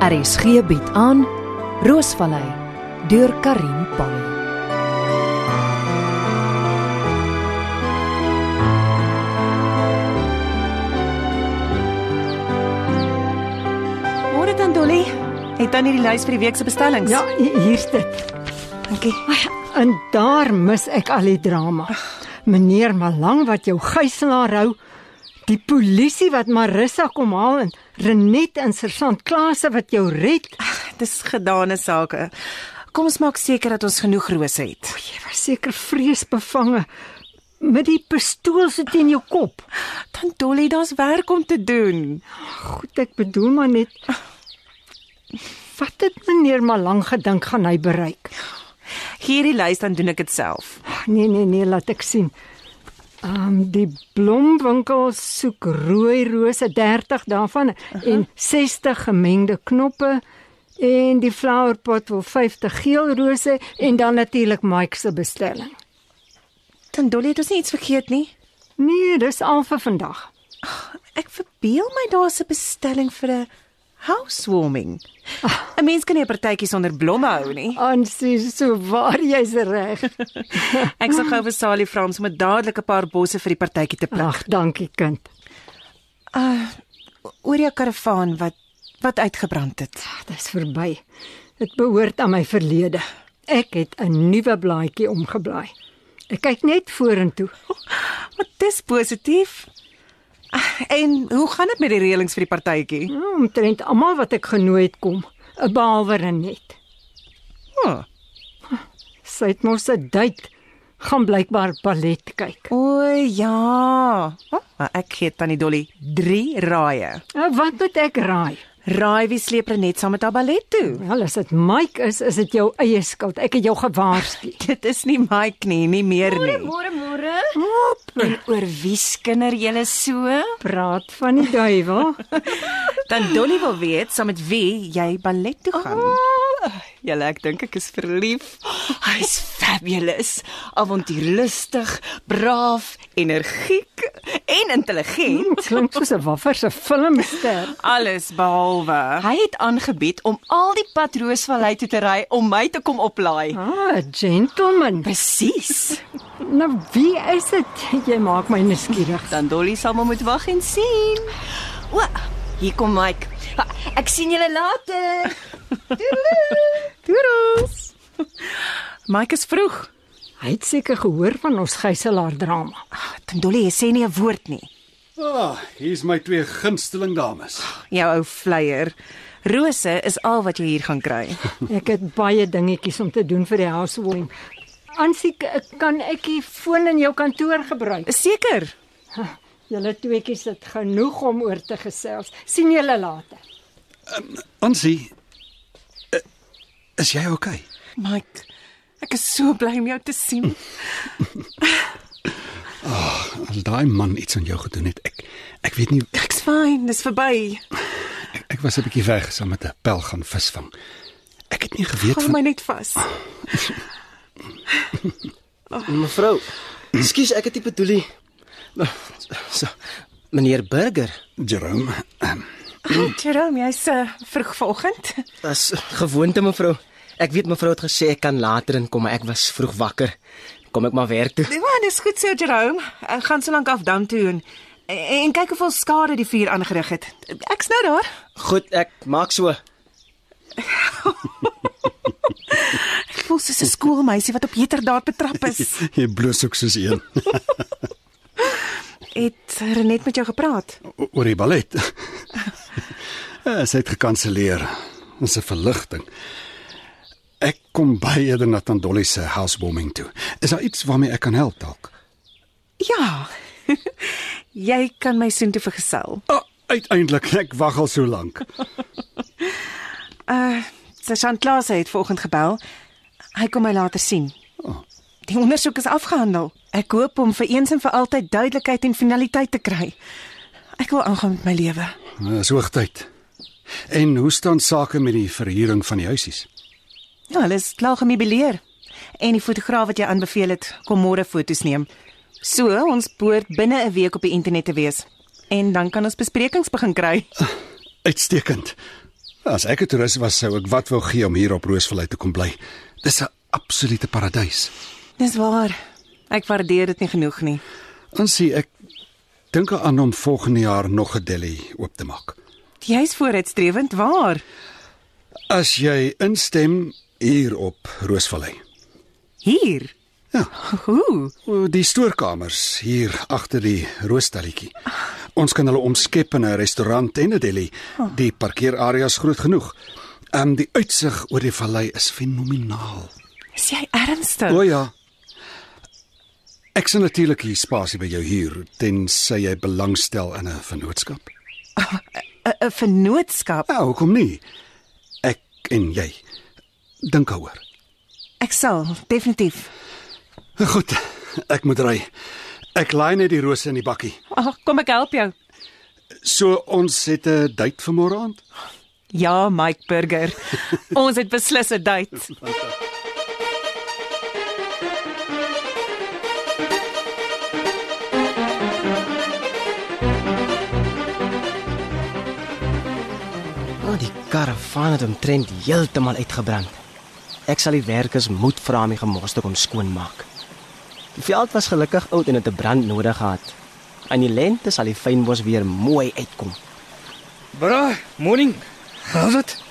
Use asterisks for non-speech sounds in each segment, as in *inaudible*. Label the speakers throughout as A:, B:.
A: RSG bied aan Roosvallei deur Karin Pan.
B: Môre dan Dolly. Het tannie die lys vir die week se bestellings?
C: Ja, hi- hier's dit.
B: dankie.
C: En daar mis ek al die drama. Meneer Malang wat jou gijslaar hou, die polisie wat Marissa kom haal en Renet en Sersant Klase wat jou red.
B: Ah, Dis gedane sake. Kom ons maak seker dat ons genoeg rose het.
C: Jy was seker vreesbevange met die pistool se teen jou kop.
B: Dan Dolly, daar's werk om te doen.
C: Goed, ek bedoel maar net wat het meneer Malang gedink gaan hy bereik?
B: Gee die lys dan doen ek dit self.
C: Nee nee nee, laat ek sien. Ehm um, die blomwinkel soek rooi rose 30 daarvan uh -huh. en 60 gemengde knoppe en die flowerpot wil 50 geel rose en dan natuurlik Mike se bestelling.
B: Dan Dolly, het ons nie iets vergeet nie.
C: Nee, dis al vir vandag.
B: Ek verbeel my daar's 'n bestelling vir 'n housewarming. 'n Mens kan nie 'n partytjie sonder blomme hou nie.
C: Aansie, so waar jy's reg.
B: Ek sal gou vir Salie vra om sommer dadelik 'n paar bosse vir die partytjie te pluk.
C: Ag, dankie kind.
B: Ah, Oor jou karavaan wat wat uitgebrand het.
C: Ag, Ah, dis verby. Dit behoort aan my verlede. Ek het 'n nuwe blaadjie omgeblaai. Ek kyk net vorentoe.
B: Maar dis positief. Ah, En hoe gaan dit met die reëlings vir die partytjie?
C: Ja, omtrent almal wat ek genooi het kom, 'n behalwe Renet.
B: Oh.
C: Sy het mos 'n date gaan blykbaar ballet kyk.
B: O ja. Oh, maar ek gee tannie Dolly 3 raaie.
C: Nou wat moet ek raai?
B: Raai wie sleep Renet saam met haar ballet toe?
C: Wel, as dit Mike is, is dit jou eie skuld. Ek het jou gewaarsku.
B: Dit is nie my knie nie meer nie.
D: Môre môre.
C: Hop,
D: En oor wie skinder julle so?
C: praat van die duiwel.
B: Dan Dolly wil weet saam met wie jy ballet toe gaan.
D: Ah, Julle, ek dink ek is verlief. Hy's fabulous, avontuurlustig, braaf, energiek en intelligent.
C: Klink soos 'n waffer se filmster.
B: Alles behalwe.
D: Hy het aangebied om al die pad Roosvallei toe te ry om my te kom oplaai.
C: Ah, 'n gentleman.
D: Presies.
C: Nou wie is dit? Jy maak my nuuskierig.
D: Dan Dolly sal maar moet wag en sien. O, hier kom Mike. Ha, Ek sien julle later.
B: Toedels. Mike is vroeg.
C: Hy het seker gehoor van ons gijslaer drama.
B: Dan Dolly jy sê nie 'n woord nie.
E: Ah, hier's my twee gunsteling dames.
B: Jou ou flyer. Rose is al wat jy hier gaan *laughs* kry.
C: *laughs* Ek het baie dingetjies om te doen vir die housewarming. Ansie, k- kan ek die foon in jou kantoor gebruik?
B: Seker.
C: Julle tweeetjies het genoeg om oor te gesels. sien julle later.
E: Ansie, eh, is jy okay?
B: Mike, ek is so bly om jou te sien.
E: As daai man iets aan jou gedoen het, ek ek weet nie,
B: Ek's fyn, dis verby.
E: ek, ek was 'n bietjie weg saam met 'n pel gaan visvang. Ek het nie geweet
B: Hou
E: van
B: my net vas.
F: Mevrou, ekskuus, ek het nie bedoel nie. Nou, So, meneer Burger,
E: Jerome. *laughs* Um,
B: *clears throat* Jerome, jy's uh, vroeg vanoggend.
F: as gewoonte mevrou. Ek weet mevrou het gesê ek kan later inkom, maar ek was vroeg wakker. Kom ek maar werk toe.
B: Nee man, dis goed so Jerome. Ek gaan so lank af dam toe en en kyk hoeveel skade die vuur aangerig het. Ek's nou daar.
F: Goed, ek maak so.
B: Ek voel soos 'n skoolmeisie wat op heterdaad betrap
E: *laughs*
B: is.
E: jy bloos ook soos een *laughs*
B: Het Renet met jou gepraat?
E: O- oor die ballet. *laughs* Eh, Sy het gekanselleer. Ons 'n verligting. Ek kom by eerder na Tandolly se housewarming toe. Is daar iets waarmee ek kan help dalk?
B: Ja. *laughs* jy kan my soontoe vergesel.
E: Ah, uiteindelik, ek wag al so lank.
B: Sergeant Klaas het vanoggend gebel. Hy kom my later sien. Die ondersoek is afgehandel. Ek hoop om vir eens en vir altyd duidelikheid en finaliteit te kry. Ek wil aangaan met my lewe.
E: Dis hoogtyd. En hoe staan sake met die verhuuring van die huisies?
B: Ja, hulle is klaar gemeubileer. En die fotograaf wat jy aanbeveel het, kom môre foto's neem. So, ons behoort binne 'n week op die internet te wees. En dan kan ons besprekings begin kry.
E: Uitstekend. As ek 'n toerist was, sou ek wat wou gee om hier op Roosvallei te kom bly. Dis 'n absolute paradys.
B: Dis waar. Ek waardeer dit nie genoeg nie.
E: Ons sê ek dink aan om volgende jaar nog 'n deli oop te maak.
B: Jy's vooruitstrewend, waar?
E: As jy instem hier op Roosvallei.
B: Hier.
E: Ja.
B: Hoe?
E: O, Die stoorkamers hier agter die roostalletjie. Ons kan hulle omskep in 'n restaurant en 'n deli. Die parkeerarea is groot genoeg. Ehm um, die uitsig oor die vallei is fenomenaal.
B: Is jy ernstig?
E: O ja. Ek sien natuurlik hier spasie by jou huur tensy jy belangstel in 'n vennootskap.
B: 'n 'n vennootskap.
E: Ja, hoekom nie? Ek en jy. Dink daaroor.
B: Ek sal definitief.
E: Goed, ek moet ry. Ek laai net die rose in die bakkie.
B: Ag, kom ek help jou.
E: So ons het 'n date vir môre aand.
B: Ja, Mike Burger. Ons het beslis 'n date.
F: Ah, die karavaan het omtrent heeltemal uitgebrand. Ek sal die werkers moed vra om die gemors te kom skoonmaak. Die veld was gelukkig oud en het 'n brand nodig gehad. Aan die lente sal die fynbos weer mooi uitkom.
G: Bra, morning. How's dit?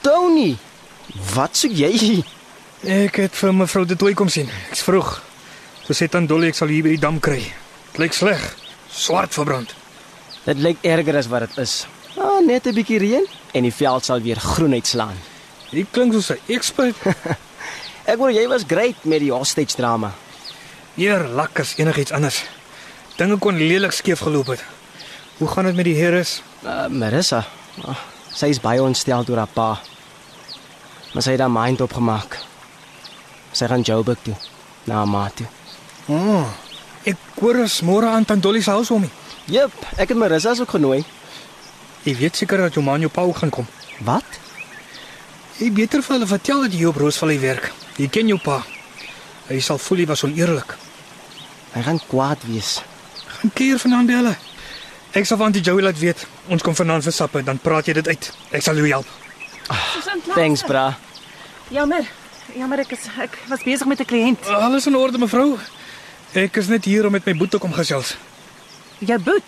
F: Tony, wat soek jy hier?
G: Ek het vir mevrou De Tooy kom sien. Ek's vroeg. Sy sê dan Dolly ek sal hier by die dam kry. Dit lyk sleg. Swart verbrand.
F: Dit lyk erger as wat dit is. Ah, net 'n bietjie reën en die veld sal weer groen uitslaan.
G: Jy klink soos 'n *laughs* expert.
F: Ek wou jy was great met die hostage drama.
G: Eer lak as enigiets anders. Dinge kon lelik skeef geloop het. Hoe gaan dit met die heres?
F: Uh, Marissa, oh, sy is baie ontstel deur haar pa. Maar sy het haar mind opgemaak. Sy gaan Joburg toe, na haar ma toe.
G: O, oh, ek hoor is môre aan Tant Dolly se huis om.
F: Jep, ek het Marissa ook genooi.
G: Jy weet seker dat jou man jou pa ook gaan kom.
F: Wat?
G: Jy beter vir hulle vertel dat jy op Roosvallei werk. Jy ken jou pa. Hy sal voel jy was oneerlik.
F: Hy gaan kwaad wees.
G: Gaan keer vanaand by hulle. Ek sal van die Joey laat weet. Ons kom vanaand vir sappe, dan praat jy dit uit. Ek sal jou help.
F: Thanks, bra.
B: Jammer. Jammer ek is ek was besig met 'n kliënt.
G: Alles in orde, mevrou. Ek is net hier om met my boet te kom gesels. *laughs*
B: Jou boet.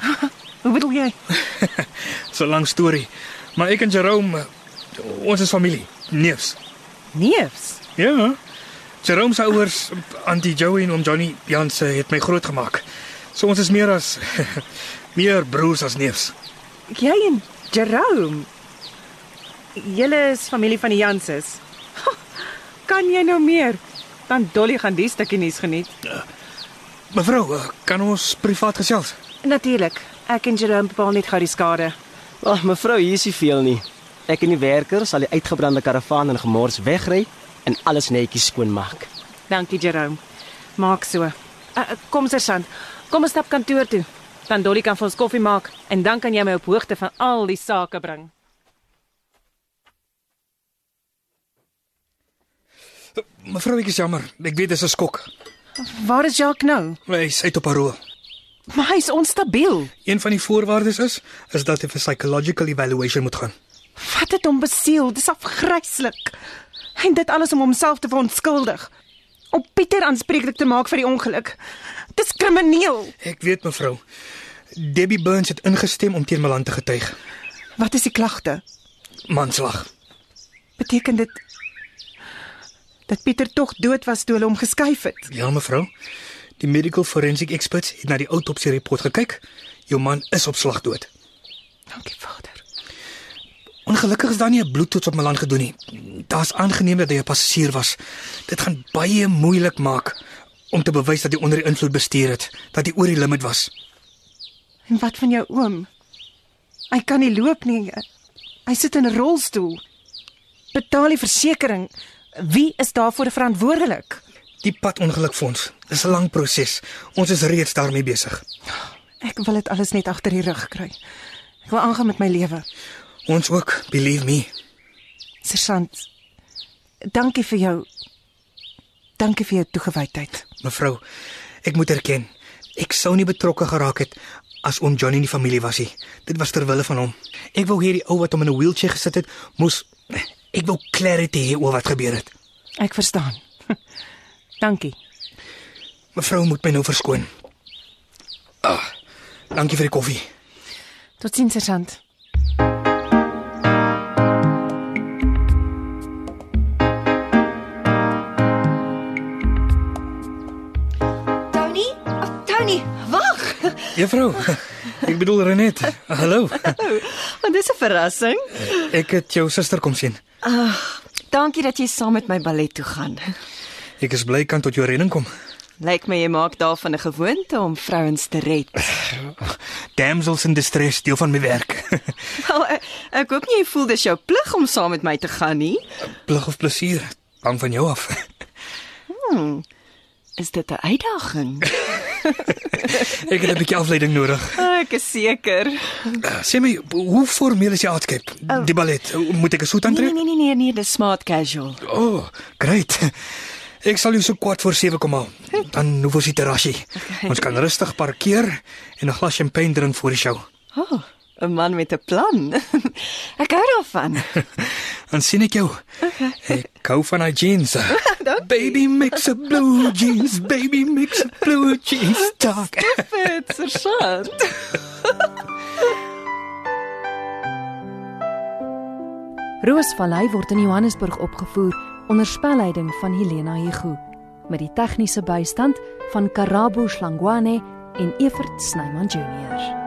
B: *laughs* Hoe bedoel jy?
G: Dis 'n lang storie. Maar ek en Jerome, eh, ons is familie, neefs.
B: Neefs.
G: Ja. Jerome se ouers, Auntie Joey en oom Johnny Janse het my grootgemaak. So ons is meer as *laughs* meer broers as neefs.
B: Jy en Jerome. Julle is familie van die Janses. *laughs* Ha, Kan jy nou meer? Dan Dolly gaan die stukkie nuus geniet.
G: Mevrou, eh, kan ons privaat gesels?
B: Natuurlik. Ek en Jerome bepaal net gou die skade.
F: Ag, Oh, mevrou, hier is nie veel nie. Ek en die werkers sal die uitgebrande karavaan en gemors wegry en alles netjies skoonmaak.
B: Dankie Jerome. Maak so. Uh, uh, kom Sersan. Kom ons stap kantoor toe. Dan Dolly kan vir ons koffie maak en dan kan jy my op hoogte van al die sake bring.
G: Mevrou, ek is jammer. Ek weet dit is 'n skok.
B: Waar is Jacques nou?
G: Maar Hy's uit op haar rol.
B: Maar hy's onstabiel.
G: Een van die voorwaardes is is dat hy vir psychological evaluation moet gaan.
B: Wat het hom besiel? Dis afgryslik. En dit alles om homself te verontskuldig. Om Pieter aanspreeklik te maak vir die ongeluk. Dis krimineel.
G: Ek weet mevrou. Debbie Burns het ingestem om teen Malan te getuig.
B: Wat is die klagte?
G: Manslag.
B: Beteken dit dat Pieter tog dood was toe hulle hom geskuif het?
G: Ja mevrou. Die medical forensic experts het na die autopsie rapport gekyk. Jou man is op slag dood.
B: Dankie Vader.
G: Ongelukkig is daar nie 'n bloedtoets op Malan gedoen nie. Daar's aangeneem dat hy 'n passasier was. Dit gaan baie moeilik maak om te bewys dat hy onder die invloed bestuur het, dat hy oor die limit was.
B: En wat van jou oom? Hy kan nie loop nie. Hy sit in 'n rolstoel. Betaal die versekering. Wie is daarvoor verantwoordelik?
G: Die padongelukfonds is 'n lang proses. Ons is reeds daarmee besig.
B: Ek wil dit alles net agter die rug kry. Ek wil aangaan met my lewe.
G: Ons ook, believe me.
B: Sergeant, dankie vir jou. Dankie vir jou toegewydheid.
G: Mevrou, ek moet erken, ek sou nie betrokke geraak het as oom Johnny nie familie was nie. Dit was ter wille van hom. Ek wou hierdie ou wat hom in 'n wheelchair gesit het, moes ek wou clarity hê oor wat gebeur het.
B: Ek verstaan. *laughs* Dankie.
G: Mevrou moet my nou verskoon. Ah, dankie vir die koffie.
B: Totsiens, sergeant.
D: Tony? Oh, Tony, wag.
G: Juffrou, *laughs* ek bedoel Renet. Hallo.
D: Want dis 'n verrassing.
G: Ek het jou suster kom sien.
D: Dankie dat jy saam met my ballet toe gaan.
G: Ek is bly ek kan tot jou redding kom.
D: Lyk my jy maak daarvan 'n gewoonte om vrouens te red. *laughs*
G: Damsels in distress deel van my werk. *laughs*
D: Wel, ek, Nou, eh, ek hoop nie jy voel dis jou plig om saam met my te gaan nie.
G: Plig of plesier, hang van jou af.
D: Is dit 'n uitdaging?
G: Ek het 'n bietjie afleiding nodig.
D: *laughs* ek is seker.
G: Sê my, hoe formeel is die outfit? Die ballet, moet ek 'n soet
D: Nee
G: aantrek?
D: nee nee nee nee, dis smart casual.
G: O, oh, great. Ek sal jou so kwart voor 7 kom haal. Dan hoef ons nie te rasie. Okay. Ons kan rustig parkeer en 'n glas champagne drink voor die show.
D: O, oh, 'n man met 'n plan. *laughs* ek hou daarvan.
G: Dan sien ek jou. Okay. Ek hou van daai jeans. baby mix a blue jeans, baby mix a blue jeans. Talk.
D: Fit, sergeant.
A: Roosvallei word in Johannesburg opgevoer onder spelleiding van Helena Hugo met die tegniese bystand van Karabo Slangwane en Evert Snyman Junior.